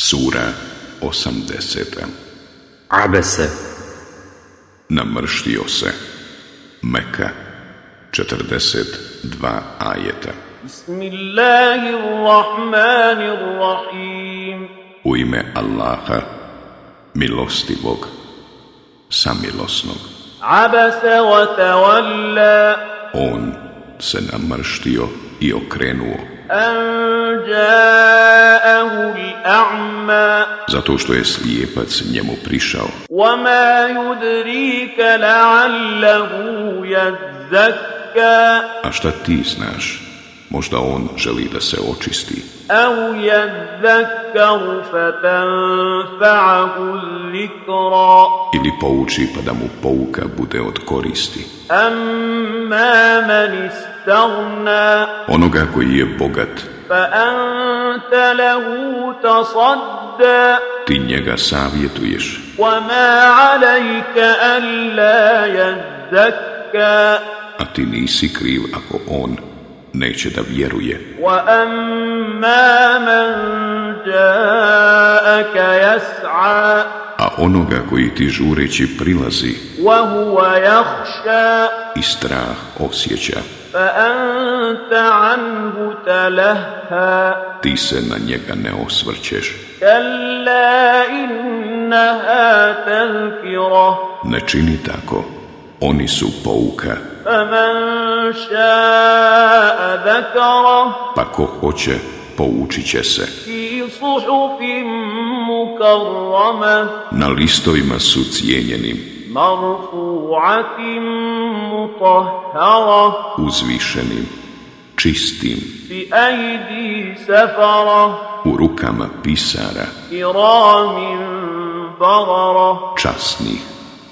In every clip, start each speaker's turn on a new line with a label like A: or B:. A: Sura 80.
B: Abese
A: Namrštio se. Meka. 42 ajeta.
C: بسم الله الرحمن الرحيم
A: U ime Allaha, milostivog, samilosnog.
C: عبس وتولى
A: On se namrštio i okrenuo,
C: أن جاءه الأعمى
A: zato što je slijepac njemu prišao.
C: وما يدريك لعله يزكى
A: A šta ti znaš? Možda on želi da se očisti
C: أو يذكر فتنفعه الذكرى
A: ili pouči pa da mu pouka bude od koristi.
C: أما من استغنى
A: Onoga koji je bogat,
C: فأنت له تصدى
A: ti njega savjetuješ,
C: وما عليك ألا يزكى
A: a ti nisi kriv ako on neće da vjeruje.
C: وأما من جاءك يسعى
A: A onoga koji ti žureći prilazi
C: وهو يخشى
A: i strah osjeća,
C: فأنت عنه تلهى
A: ti se na njega ne osvrćeš.
C: كلا إنها تذكرة
A: Ne čini tako, oni su pouka,
C: فمن شاء ذكره
A: pa ko hoće, poučit će se.
C: في صحف مكرمة
A: Na listovima su cijenjenim,
C: مرفوعة مطهرة
A: uzvišenim, čistim,
C: بأيدي سفرة
A: u rukama pisara,
C: كرام بررة
A: časnih,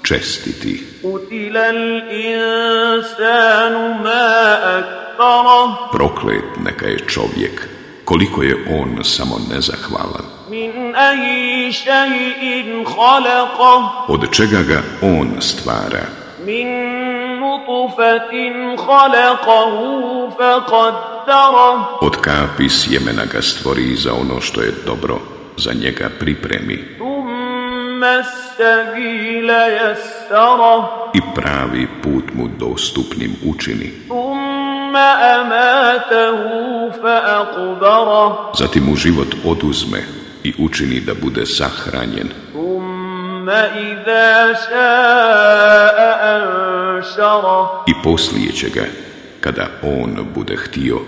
A: čestitih.
C: قتل الإنسان ما أكفره
A: Proklet neka je čovjek, koliko je on samo nezahvalan.
C: من أي شيء خلقه
A: Od čega ga on stvara?
C: من نطفة خلقه فقدره
A: Od kapi sjemena ga stvori za ono što je dobro, za njega pripremi
C: ثم السبيل يسره
A: i pravi put mu dostupnim učini.
C: ثم أماته فأقبره
A: Zatim mu život oduzme i učini da bude sahranjen,
C: ثم إذا شاء أنشره
A: i poslije će ga, kada on bude htio,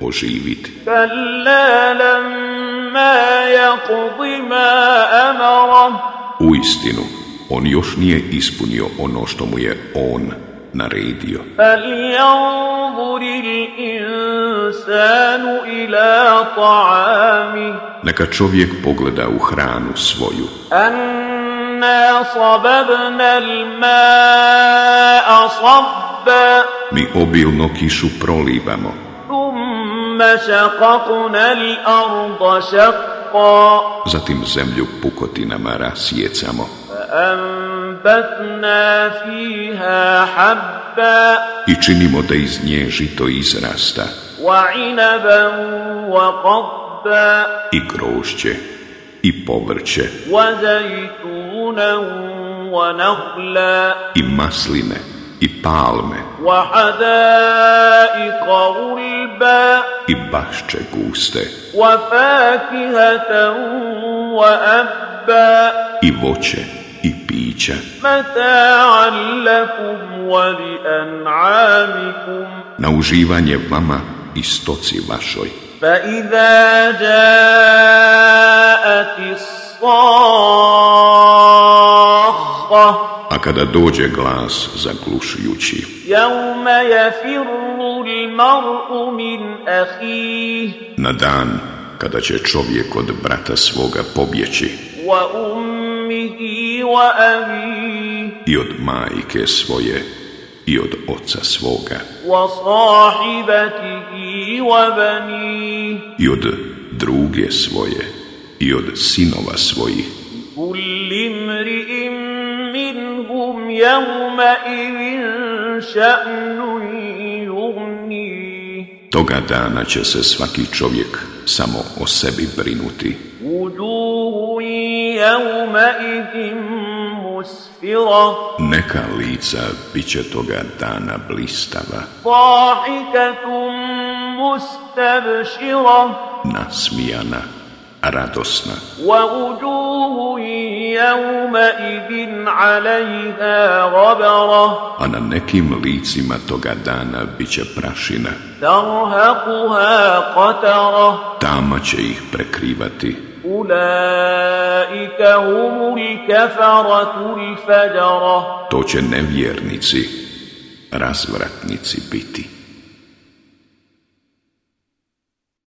A: oživiti.
C: كلا لما يقض ما أمره
A: U istinu, on još nije ispunio ono što mu je on naredio.
C: فلينظر الإنسان إلى طعامه
A: Neka čovjek pogleda u hranu svoju,
C: أنا صببنا الماء صبا
A: mi obilno kišu prolivamo,
C: ثم شققنا الأرض شقا
A: zatim zemlju pukotinama rasjecamo
C: فأنبتنا فيها حبا
A: i činimo da iz nje žito izrasta
C: وعنبا وقضبا
A: i grošće i povrće
C: وزيتونا ونخلا
A: i masline i palme
C: وحدائق غلبا
A: i bašće guste
C: وفاكهة وأبا
A: i voće i pića
C: متاعا لكم ولأنعامكم
A: na uživanje vama i stoci vašoj.
C: فإذا جاءت الصاخة
A: A kada dođe glas zaglušujući,
C: يوم يفر المرء من أخيه
A: na dan kada će čovjek od brata svoga pobjeći
C: وأمه وأبيه
A: i od majke svoje i od oca svoga
C: وصاحبته وبنيه
A: i od druge svoje i od sinova svojih
C: كل امرئ منهم يومئذ شأن يغنيه
A: Toga dana će se svaki čovjek samo o sebi brinuti.
C: وجوه يومئذ مسفرة
A: Neka lica bit će toga dana blistava,
C: ضاحكة مستبشرة
A: nasmijana, radosna.
C: ووجوه يومئذ عليها غبرة
A: a na nekim licima toga dana bit će prašina,
C: ترهقها قترة
A: tama će ih prekrivati.
C: أولئك هم الكفرة الفجرة
A: To će nevjernici, razvratnici biti.